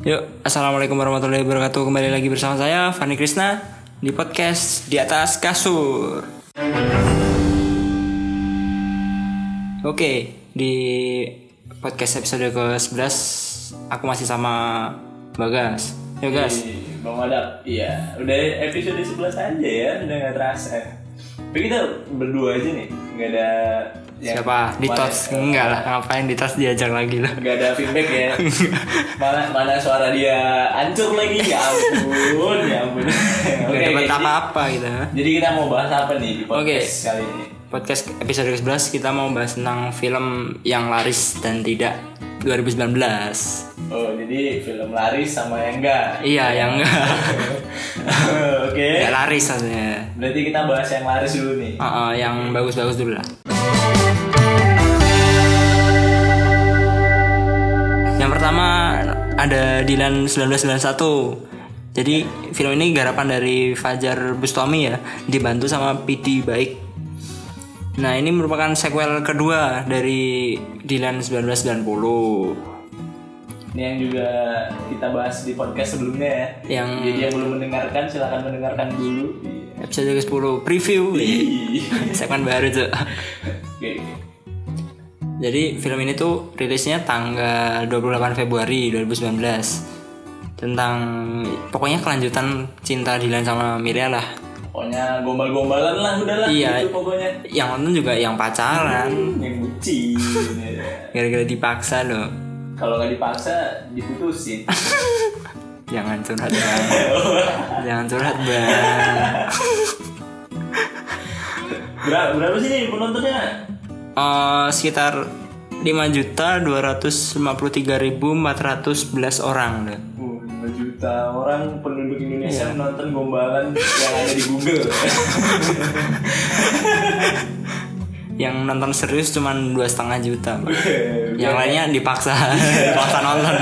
Yuk, Assalamualaikum warahmatullahi wabarakatuh Kembali lagi bersama saya, Fani Krishna Di podcast Di Atas Kasur Oke, di podcast episode ke-11 Aku masih sama Bagas Yuk Gas, Ih, Bang Madap, iya. Udah episode 11 aja ya, udah gak terasa. Tapi kita berdua aja nih, gak ada... yang siapa? Di kemarin- tos? Enggak lah, ngapain di tos diajak lagi lah Gak ada feedback ya. mana mana suara dia hancur lagi, ya ampun, ya ampun. Gak Oke, dapat jadi- apa-apa gitu. kita Jadi kita mau bahas apa nih di podcast Oke. kali ini? Podcast episode ke-11 kita mau bahas tentang film yang laris dan tidak 2019 Oh, jadi film laris sama yang enggak. Iya, yang enggak Oke. enggak laris maksudnya. Berarti kita bahas yang laris dulu nih. Uh, uh, yang bagus-bagus dulu lah. Yang pertama ada Dilan 1991. Jadi film ini garapan dari Fajar Bustami ya, dibantu sama PD Baik. Nah ini merupakan sequel kedua dari Dilan 1990. Ini yang juga kita bahas di podcast sebelumnya ya. Yang- Jadi yang belum mendengarkan silahkan mendengarkan dulu. Episode ke-10 preview. Segmen baru tuh. Oke. Jadi film ini tuh rilisnya tanggal 28 Februari 2019 tentang pokoknya kelanjutan cinta Dilan sama Miria lah. Pokoknya gombal-gombalan lah udahlah Iya. gitu pokoknya. Yang nonton juga yang pacaran Yang bucin. ya. gara-gara dipaksa loh. Kalau nggak dipaksa diputusin. Jangan curhat bang. Jangan curhat bang. Berapa, berapa sih nih penontonnya? Eh, sekitar 5.253.411 orang loh. Uh, 5 juta orang penduduk Indonesia Iya. menonton gombalan yang ada di Google. Yang nonton serius cuman dua setengah juta. Bang. Yang lainnya dipaksa, dipaksa nonton.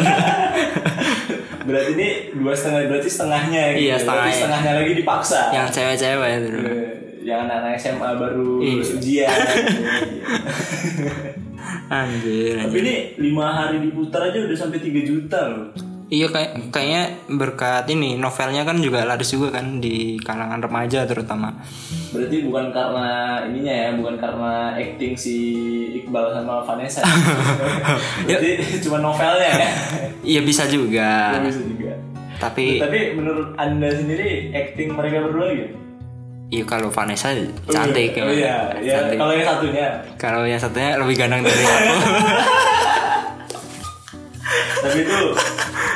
berarti ini dua setengah berarti setengahnya gitu. Iya, Berarti setengahnya. setengahnya lagi dipaksa. yang cewek-cewek itu. Bang. Eh, yang anak-anak SMA baru Iya. lulus ujian. Iya. Anjir, Tapi anjir. ini lima hari diputar aja udah sampai 3 juta loh. Iya kayak kayaknya berkat ini novelnya kan juga laris juga kan di kalangan remaja terutama. Berarti bukan karena ininya ya, bukan karena acting si Iqbal sama Vanessa. Berarti cuma novelnya ya. Iya bisa juga. Bisa juga. Tapi Tapi menurut Anda sendiri acting mereka berdua gitu? iya kalau Vanessa cantik Oh iya, emang. ya, Cantik. kalau yang satunya. Kalau yang satunya lebih ganteng dari aku. Tapi itu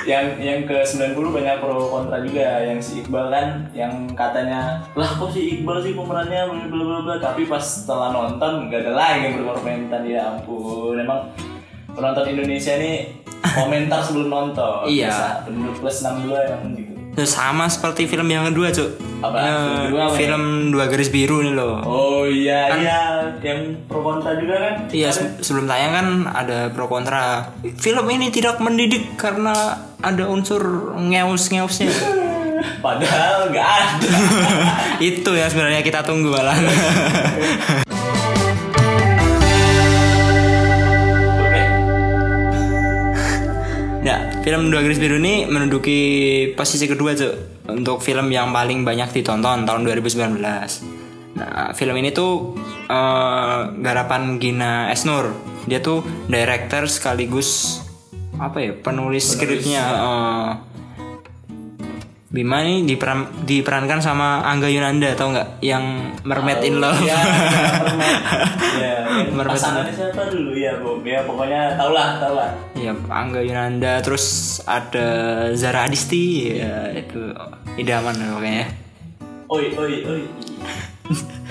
yang yang ke 90 banyak pro kontra juga yang si Iqbal kan yang katanya lah kok si Iqbal sih pemerannya bla bla bla bla." tapi pas setelah nonton nggak ada lagi yang berkomentar ya ampun emang penonton Indonesia nih komentar sebelum nonton Iya. Biasa, penduduk plus 62 emang gitu Terus sama seperti film yang kedua, Cuk. Apa? Eh, Film kedua apa ya? film Dua Garis Biru nih loh. oh iya iya yang pro kontra juga kan Iya, se- sebelum tayang kan ada pro kontra. Film ini tidak mendidik karena ada unsur ngeus-ngeusnya. padahal nggak ada itu yang sebenarnya kita tunggu malah Oke. nah film dua garis biru ini menduduki posisi kedua cuk untuk film yang paling banyak ditonton tahun 2019 nah film ini tuh eh, garapan Gina Esnur dia tuh director sekaligus apa ya penulis, skripnya eh. Bima nih diperan- diperankan sama Angga Yunanda tau nggak yang Mermaid in Love Iya, ya, Mermaid. pasangannya siapa dulu ya, Bu? Ya pokoknya tau lah, tau lah. Ya, Angga Yunanda, terus ada Zara Adisti, ya itu idaman lah pokoknya. Oi, oi, oi.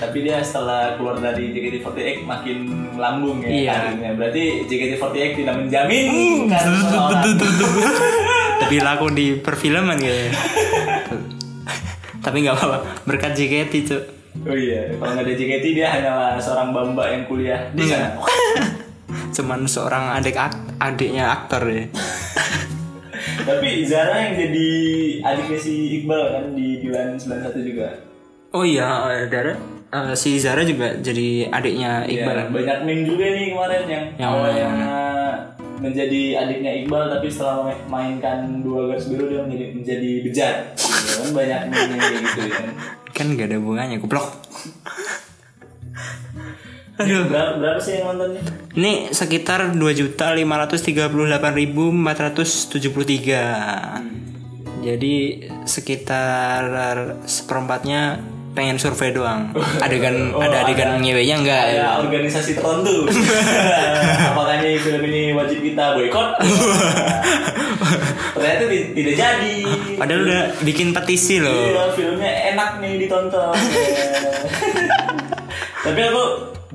Tapi dia setelah keluar dari JKT48 makin melambung ya Iya. karirnya. Berarti JKT48 tidak menjamin karir seseorang. Tapi laku di perfilman kayaknya. Tapi nggak apa-apa, berkat JKT itu. Oh iya, kalau nggak ada JKT dia hanyalah seorang bamba yang kuliah di sana. Cuman seorang adik ak- adiknya aktor ya. Tapi Zara yang jadi adiknya si Iqbal kan di bulan 91 juga. Oh iya, eh, Zara, eh, si Zara juga jadi adiknya Iya, Iqbal. banyak meme juga nih kemarin yang Yang awalnya mana? menjadi adiknya Iqbal tapi setelah memainkan dua garis biru dia menjadi menjadi bejat gitu kan banyak meme yang kayak gitu ya kan Kan gak ada hubungannya, goblok. Ber- berapa, sih yang nontonnya Ini sekitar Hmm. 2.538.473. Jadi sekitar seperempatnya pengen survei doang. Adegan Oh, ada adegan ngewenya enggak? ada Ya, Iya. organisasi Tron tuh apakah ini film ini wajib kita boykot ternyata ti- tidak jadi Padahal udah bikin petisi loh. Iya, filmnya enak nih ditonton. Tapi aku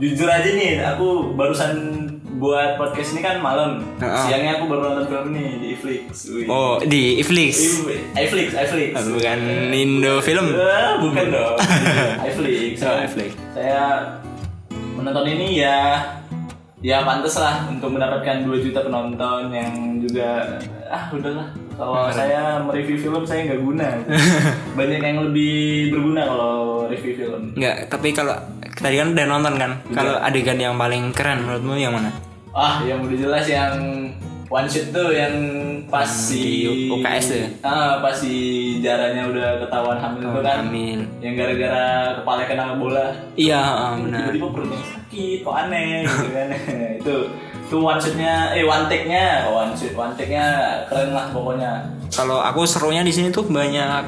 jujur aja nih, aku barusan buat podcast ini kan malam. Heeh. Siangnya aku baru nonton film nih di Netflix. Oh, di Iflix. Netflix, Netflix. Bukan Indo Film. Eh, bukan dong. Netflix. Oh, Netflix. Saya menonton ini ya ya pantas lah untuk mendapatkan 2 juta penonton yang juga ah udahlah kalau saya mereview film saya nggak guna banyak yang lebih berguna kalau review film Enggak, tapi kalau tadi kan udah nonton kan. Kalau Iya. adegan yang paling keren menurutmu yang mana? ah yang udah jelas yang one shot tuh yang pas si Hmm, di UKS tuh ya? ah pas si jaranya udah ketahuan hamil tuh Oh, kan Amin. yang gara-gara kepala kena bola Iya, heeh, benar. tiba-tiba perutnya sakit kok aneh gitu kan itu itu one shotnya eh one take nya one shot one take nya keren lah pokoknya Kalau aku serunya di sini tuh banyak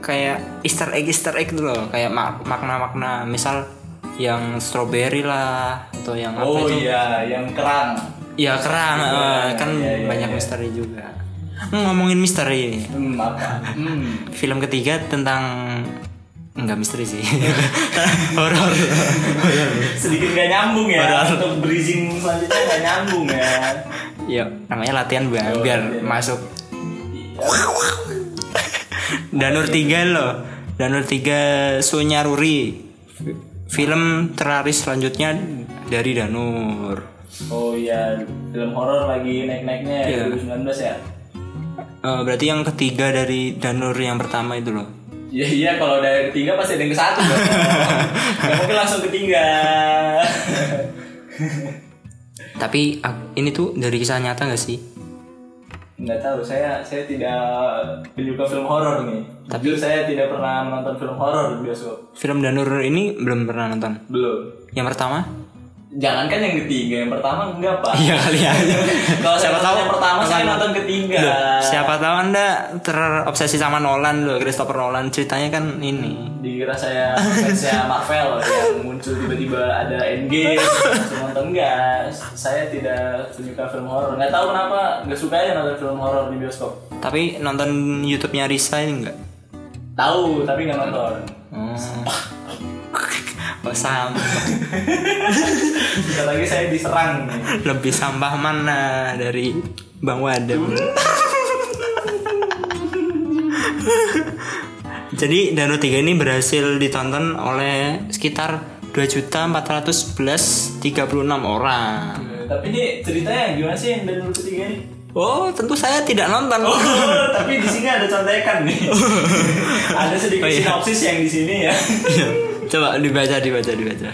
kayak Easter egg Easter egg tuh loh, kayak ma- makna-makna misal yang strawberry lah atau yang apa oh itu. iya yang kerang Ya kerang, eh, kan Iya, iya, banyak iya. misteri juga. Hmm, Ngomongin misteri ini. hmm apa hmm Film ketiga tentang enggak misteri sih. Horor. sedikit gak nyambung ya untuk bridging selanjutnya gak nyambung ya ya, namanya latihan Iya. Bang, biar masuk. Danur 3 loh. Danur 3 Sunyaruri. Fi- Film teraris selanjutnya dari Danur. oh iya film horor lagi naik-naiknya ya 2019 ya Eh, berarti yang ketiga dari Danur yang pertama itu loh. Iya iya kalau dari ketiga pasti ada yang ke satu dong. Gak mungkin langsung ketiga. Tapi ak- ini tuh dari kisah nyata gak sih? Nggak tahu, saya saya tidak penyuka film horor nih. Tapi saya tidak pernah menonton film horor di bioskop. Film Danur ini belum pernah nonton. Belum. Yang pertama? Jangankan yang ketiga, yang pertama enggak pak. Iya kali aja. kalau saya nonton yang pertama Iya. saya nonton ketiga. Siapa tahu Anda terobsesi sama Nolan loh, Christopher Nolan. Ceritanya kan ini. Dikira saya fansnya Marvel yang muncul tiba-tiba ada Endgame. langsung nonton enggak. Saya tidak penyuka film horor. Nggak tahu kenapa nggak suka aja nonton film horor di bioskop. Tapi nonton YouTube-nya Risa ini enggak? Tahu, tapi nggak nonton. Oh. Oh, sampah. Bentar lagi saya diserang nih. Lebih sampah mana dari Bang Wadem? Jadi Dano 3 ini berhasil ditonton oleh sekitar 2.411.36 orang. Tapi ini ceritanya gimana sih yang Danur ketiga ini? Oh, tentu saya tidak nonton. Oh, tapi di sini ada contekan nih. ada sedikit Oh, iya. sinopsis yang di sini ya. Iya. Coba dibaca, dibaca, dibaca.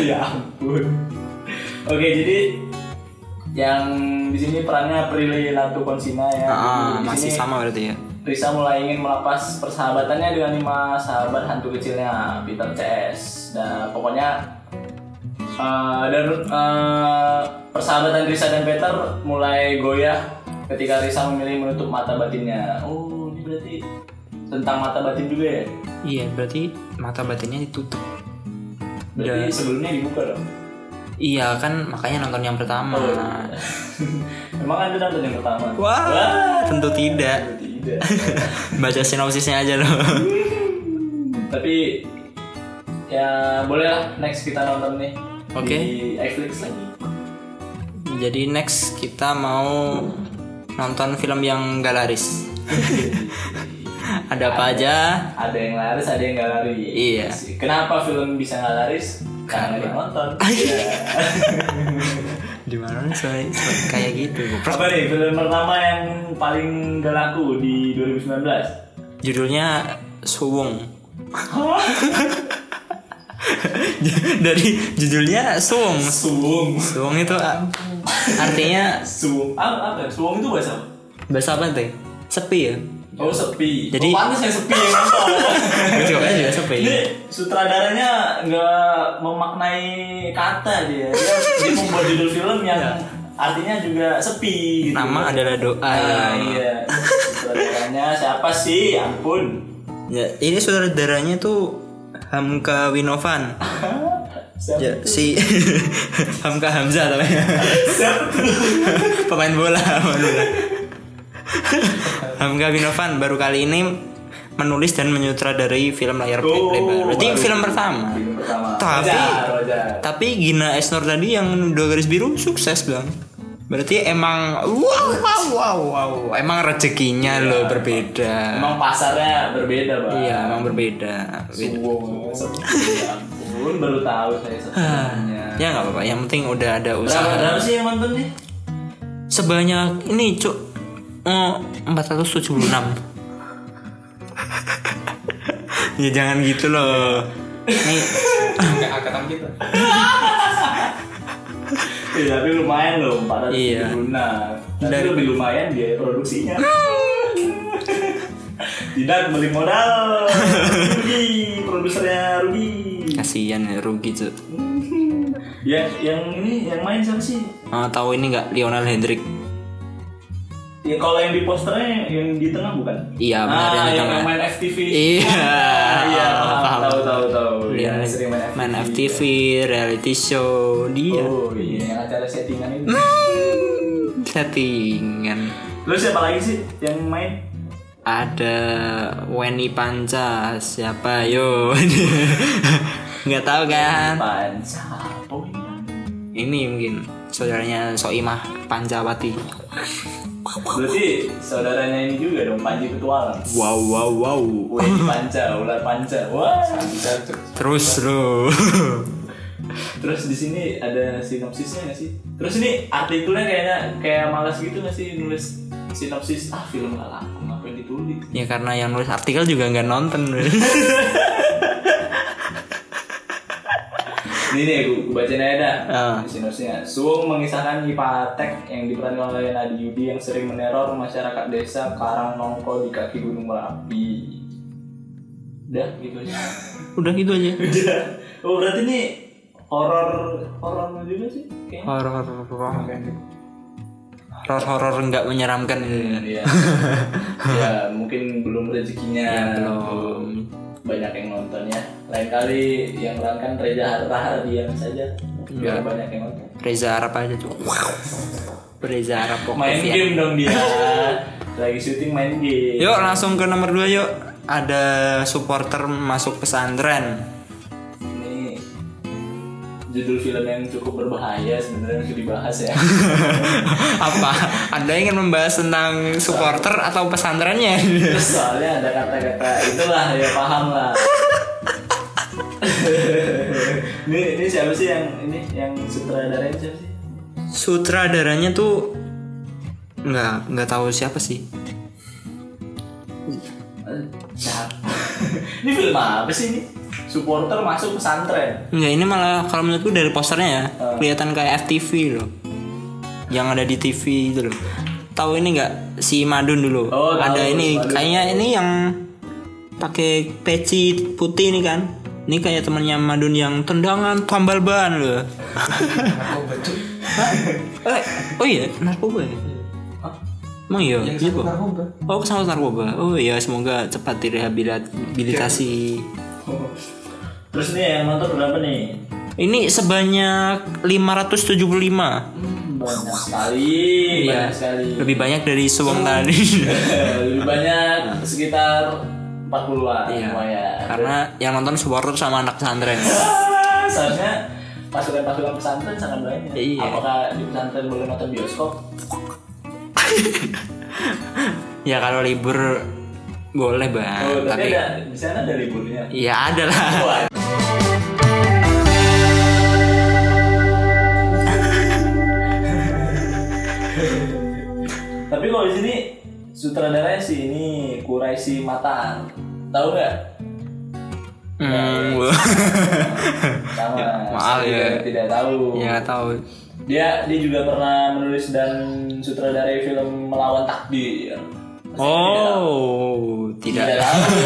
ya ampun. Oke, jadi yang di sini perannya Prilly Latukonsina ya. Ah, Di masih sini sama berarti ya. Risa mulai ingin melepas persahabatannya dengan lima sahabat hantu kecilnya Peter CS. Nah, pokoknya eh, dan eh, persahabatan Risa dan Peter mulai goyah ketika Risa memilih menutup mata batinnya. Oh, ini berarti tentang mata batin juga ya? Iya, berarti mata batinnya ditutup. Berarti sebelumnya dibuka dong. Iya kan, makanya nonton yang pertama. Emang anda nonton yang pertama? iya. Wah, tentu ya. tidak. Tidak. Baca sinopsisnya aja loh. Tapi ya boleh lah next kita nonton nih Oke. di iFlix lagi. Jadi next kita mau nonton film yang gak laris. Ada apa aja? ada yang laris ada yang gak laris Iya. kenapa film bisa gak laris karena ada yang nonton Iya. Di mana nih suara- suara kayak gitu? goblok. apa nih film pertama yang paling gak laku di 2019 Judulnya Suwung. Dari judulnya Suwung. Suwung Suwung itu ah, Artinya Suwung. Apa, apa ya? Suwung itu bahasa apa? bahasa apa teh? Sepi ya. Oh sepi. Jadi- oh, pantas yang sepi yang nonton. Jawabannya juga sepi. Ini Iya. sutradaranya nggak memaknai kata dia. Dia, dia membuat judul film yang artinya juga sepi. Gitu. Nama adalah doa. Ah, iya. Sutradaranya siapa sih? Ampun. Ya, ini saudaranya tuh Hamka Winovan. Siapa? Ya, si Hamka Hamzah namanya. Pemain bola, pemain bola. Hamka Winovan baru kali ini menulis dan menyutradarai film layar Oh, lebar. Berarti baru. film pertama. Nah, Film pertama. Tapi- Wajar, wajar. Tapi Gina Esnor tadi yang dua garis biru sukses bang. Berarti emang wow wow wow wow emang rezekinya Iya. loh berbeda. Emang pasarnya berbeda, Bang. Iya emang berbeda. Suwung. Sepi. Ya Ampun, baru tahu saya sepinya. Ya nggak apa-apa. Yang penting udah ada Iya. Berapa, usaha. berapa sih yang nonton nih? Sebanyak ini cuk empat ratus tujuh puluh enam. Ya jangan gitu loh. Nih Kayak angkatan kita. Iya, tapi lumayan loh, 476 Iya. Tapi Dari- lebih lumayan biaya produksinya Tidak beli modal Rugi, produsernya rugi kasihan ya rugi cuk. Ya, yang ini, yang main siapa sih? Ah, tahu ini nggak Lionel Hendrik? Ya kalau yang di posternya yang di tengah bukan? Iya, benar, yang ah, di yang tengah. main FTV Iya. Ah, Iya, Paham. paham, tahu tahu tahu Dia Yang sering main FTV main FTV, reality show dia. Oh iya, yang acara settingan itu Oh. Settingan. Terus siapa lagi sih yang main? Ada Weni Panca, siapa yo? Nggak tahu kan? Panca Oh iya Ini mungkin saudaranya Soimah Pancawati. Berarti saudaranya ini juga dong Panji Petualang. Wow wow wow. Wih, panca, ular panca. Wah. Jancuk. Terus bro. Terus di sini ada sinopsisnya nggak sih? Terus ini artikelnya kayaknya kayak malas gitu nggak sih nulis sinopsis? Ah, film nggak laku, ngapain ditulis? ya karena yang nulis artikel juga nggak nonton. bro. Ini nih, gue, gue bacain aja dah Ah. sinopsisnya. Suwung mengisahkan Ipatek yang diperankan oleh Nadi Yudi yang sering meneror masyarakat desa Karang Nongko di kaki Gunung Merapi. Udah gitu aja. Udah gitu aja. Udah. Oh berarti ini horor horor juga sih kayaknya. Horor horor horor horor nggak menyeramkan. Iya. ya mungkin belum rezekinya. belum. Banyak yang nonton ya. Lain kali yang kan Reza Harta Hardian saja. Biar banyak yang nonton. Reza Arab aja tuh. Reza Arab Main Pokovian. game dong dia. Lagi syuting main game. Yuk langsung ke nomor 2 yuk. Ada supporter masuk pesantren. Ini judul film yang cukup berbahaya sebenarnya untuk dibahas ya. Apa? Anda ingin membahas tentang supporter atau pesantrennya? Terus soalnya ada kata-kata itulah ya paham lah ini, ini siapa sih yang ini yang sutradaranya siapa sih Sutradaranya tuh nggak nggak tahu siapa sih. Eh, siapa? ini film apa sih ini supporter masuk pesantren Enggak, ini malah kalau menurutku dari posternya ya kelihatan kayak FTV loh. Yang ada di TV itu loh. Tahu ini nggak si Madun dulu? Oh, tahu, ada ini Madun. kayaknya ini yang pakai peci putih ini kan. Ini kayak temannya Madun yang tendangan tambal ban loh. Narkoba cuy. Eh, oh iya, narkoba. ya? Hah? Emang iya, Yang iya satu kok. narkoba. Oh, kesangkut narkoba. Oh iya, semoga cepat direhabilitasi. terus nih yang nonton berapa nih Ini sebanyak 575. Hmm, banyak sekali Iya, banyak sekali lebih banyak dari sewong tadi. lebih banyak sekitar 40-an Iya. lumayan Karena yang nonton supporter sama anak pesantren. Ah, seharusnya pasukan-pasukan pesantren sangat banyak. Iya. Apakah di pesantren boleh nonton bioskop? ya kalau libur boleh bang, oh, tapi, Nah, tapi ada di sana ada liburnya. ya ada lah. Wah, tapi kalau di sini sutradaranya sih ini Kuraisi Matan. Tahu nggak? Hmm, Sama. maaf saya ya. juga Tidak tahu. ya nggak tahu. Dia dia juga pernah menulis dan sutradarai film Melawan Takdir. Oh, Tidak tidak. tahu.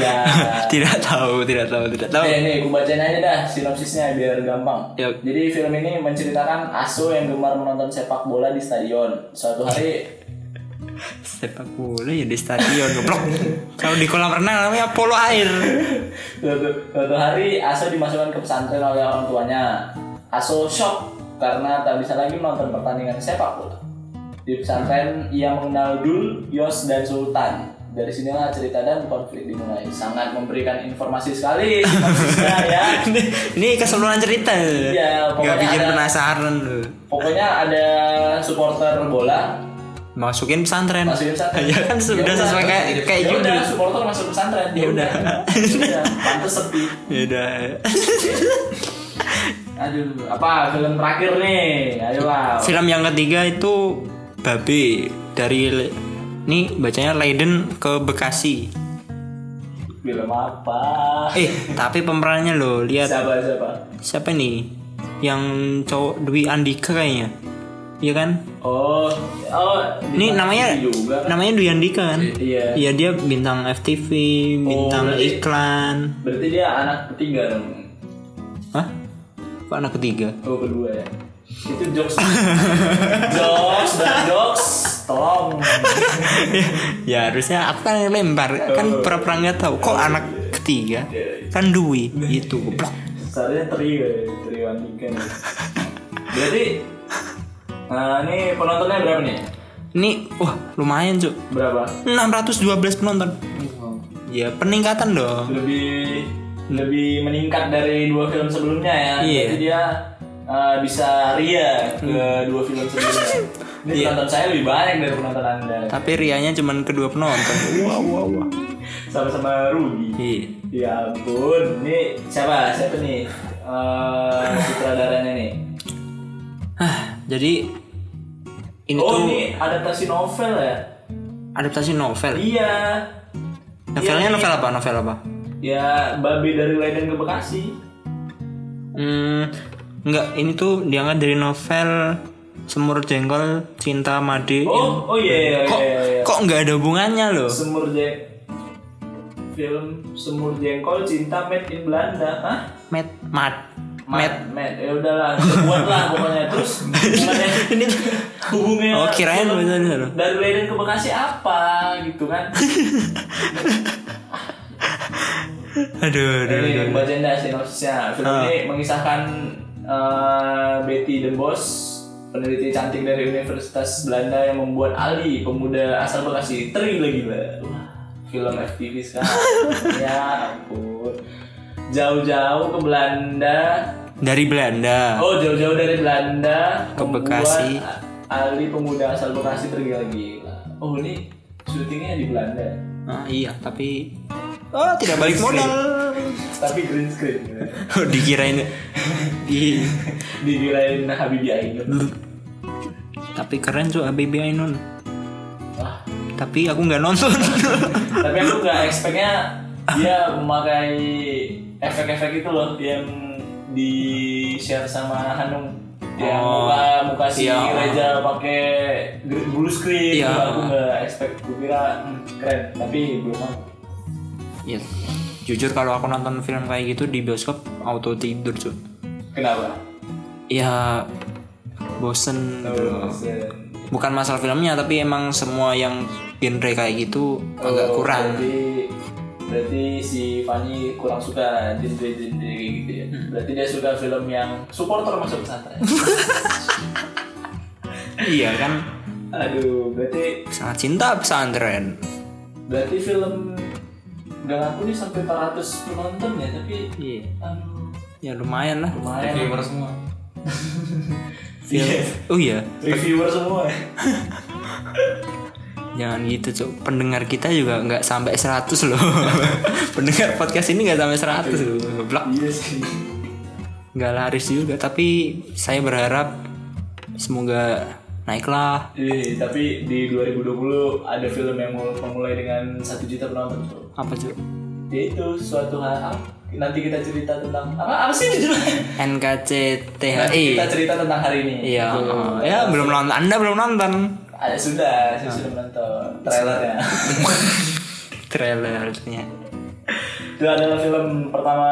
Iya. ya. Tidak tahu, tidak tahu, tidak tahu. Nih, nih, gue bacain aja dah sinopsisnya biar gampang. Yap. Jadi film ini menceritakan Aso yang gemar menonton sepak bola di stadion. Suatu hari Sepak bola ya di stadion goblok. Kalau di kolam renang namanya polo air. suatu, suatu hari Aso dimasukkan ke pesantren oleh orang tuanya. Aso shock karena tak bisa lagi menonton pertandingan sepak bola. Di pesantren ia mengenal Dul, Yos, dan Sultan. Dari sinilah cerita dan konflik dimulai. Sangat memberikan informasi sekali sinopsisnya ya. ini, ini keseluruhan cerita. Iya, Gak pokoknya bikin ada- penasaran lu. Pokoknya ada supporter bola Masukin pesantren. masukin pesantren. Ya kan sudah Ya sesuai kayak kayak ya judul. udah supporter masuk pesantren ya udah Ya, pantes sepi Ya udah. aduh apa film terakhir nih ayolah Film yang ketiga itu Babe dari Le- ini bacanya Leiden ke Bekasi. film apa Eh, tapi pemerannya lo lihat siapa siapa siapa nih? Yang cowok Dwi Andika kayaknya. Iya kan? oh oh Ini di- namanya juga kan? namanya Dwi Andika kan? iya Iya dia bintang FTV, bintang berarti- iklan. berarti dia anak ketiga dong Hah? Kok anak ketiga? oh kedua ya itu jokes jokes dan jokes tolong ya harusnya aku kan yang lempar kan pura-pura nggak tahu kok anak ketiga kan Dwi itu goblok Seharusnya trio ya, trio Andika nih. Berarti Nah ini penontonnya berapa nih? ini wah lumayan cuk Berapa? 612 penonton ya peningkatan dong Lebih lebih meningkat dari dua film sebelumnya ya. Iya. Jadi dia eh, bisa ria ke Hmm. dua film sebelumnya. Ini Iya. penonton saya lebih banyak dari penonton Anda. tapi rianya cuman kedua penonton wow wow wow Sama-sama rugi. iya Ya ampun, ini siapa? Siapa nih? Eh sutradaranya nih. Hah, jadi ini oh, tuh ini adaptasi novel ya? adaptasi novel Iya. novelnya novel apa novel apa Ya, babi dari Leiden ke Bekasi. Hmm, enggak, ini tuh diangkat dari novel Semur Jengkol Cinta Made. yang- Oh, oh iya iya kok iya. iya. kok enggak ada hubungannya loh? Semur Jeng- film Semur Jengkol Cinta Made in Belanda, hah? Mat Mat Mat. Mad, Mad, ya udahlah, buat lah pokoknya terus hubungannya ini tuh hubungannya Oh, kirain film bener, bener. dari Leiden ke Bekasi apa gitu kan? aduh aduh. aduh. Ini bacain dah sinopsisnya. Film Ah. ini mengisahkan eh, Betty the Boss, peneliti cantik dari Universitas Belanda yang membuat Ali, pemuda asal Bekasi, tergila-gila. Wah, Film FTV sekarang. ya ampun. Jauh-jauh ke Belanda. Dari Belanda. Oh, jauh-jauh dari Belanda Ke membuat Bekasi. A- Ali, pemuda asal Bekasi, tergila-gila. Oh, ini syutingnya di Belanda. Ah, iya, tapi Oh, tidak balik modal. Tapi green screen. ya. Oh, dikirain di Dikirain Habibie Ainun. tapi keren tuh ABB Ainun. Wah, Tapi aku nggak nonton. tapi aku nggak expectnya dia memakai efek-efek itu loh yang di share sama Hanung yang Oh, muka muka si iya. Reza pakai gr- blue screen Iya. aku nggak expect gue kira hmm, keren tapi belum aku Iya. Jujur kalau aku nonton film kayak gitu di bioskop auto tidur, cuy. kenapa ya bosen gitu loh. Se- bukan masalah filmnya tapi emang semua yang genre kayak gitu agak Oh, kurang berarti, berarti si Fanny kurang suka genre-genre kayak gitu ya Hmm. berarti dia suka film yang supporter masuk pesantren iya kan aduh berarti sangat cinta pesantren Berarti film gak laku nih sampai 400 penonton ya, tapi iya aduh, ya lumayan lah lumayan. Reviewer semua. film oh iya Reviewer semua. ya. jangan gitu cuk pendengar kita juga nggak sampai 100 loh pendengar podcast ini nggak sampai 100 loh Goblok. iya sih. nggak laris juga tapi saya berharap semoga naiklah Ih, Iya, tapi di 2020 ada film yang mul- memulai dengan 1 juta penonton. Bro. apa cuk Yaitu suatu hari ah, nanti kita cerita tentang apa apa sih judulnya? Nanti Iya. NKCTHI. kita cerita tentang hari ini. Iya, Gitu. eh, ya belum nonton. Anda belum nonton Ada sudah, saya sudah menonton trailernya. trailernya. Itu adalah film pertama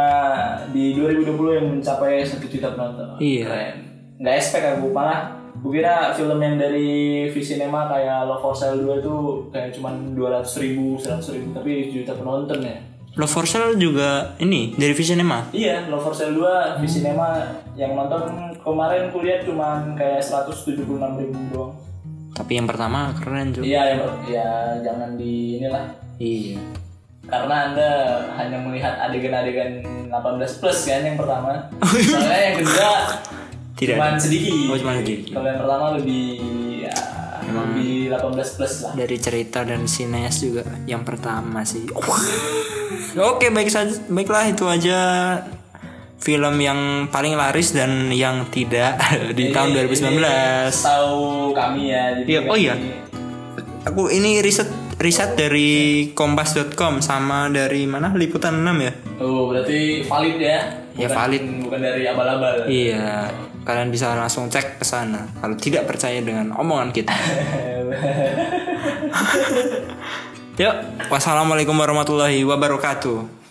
di 2020 yang mencapai 1 juta penonton. Iya. Keren. Nggak expect aku malah. Gue kira film yang dari Visinema kayak Love for Sale 2 itu kayak cuman 200 ribu, 100 ribu, tapi juta penonton ya. Love for Sale juga ini dari Visionema. Iya, Love for Sale 2 Visinema yang nonton kemarin kulihat cuman kayak 176 ribu doang. Tapi yang pertama keren juga. Iya, ya, ya jangan di inilah Iya. karena anda hanya melihat adegan-adegan 18 plus kan yang pertama soalnya yang kedua Oh, iya. Tidak cuman sedikit Oh, cuman sedikit. kalau yang pertama lebih ya, lebih 18 plus lah Dari cerita dan sineas juga yang pertama sih. Oke, baik saja baiklah itu aja film yang paling laris dan yang tidak di Jadi, tahun ini 2019. tahu kami ya jadi Iya, oh kami- iya. Aku ini riset riset dari kompas.com sama dari mana liputan 6 ya? oh berarti valid ya Ya, valid. bukan dari abal-abal Iya, kalian bisa langsung cek ke sana kalau tidak percaya dengan omongan kita. Yuk, wassalamualaikum warahmatullahi wabarakatuh.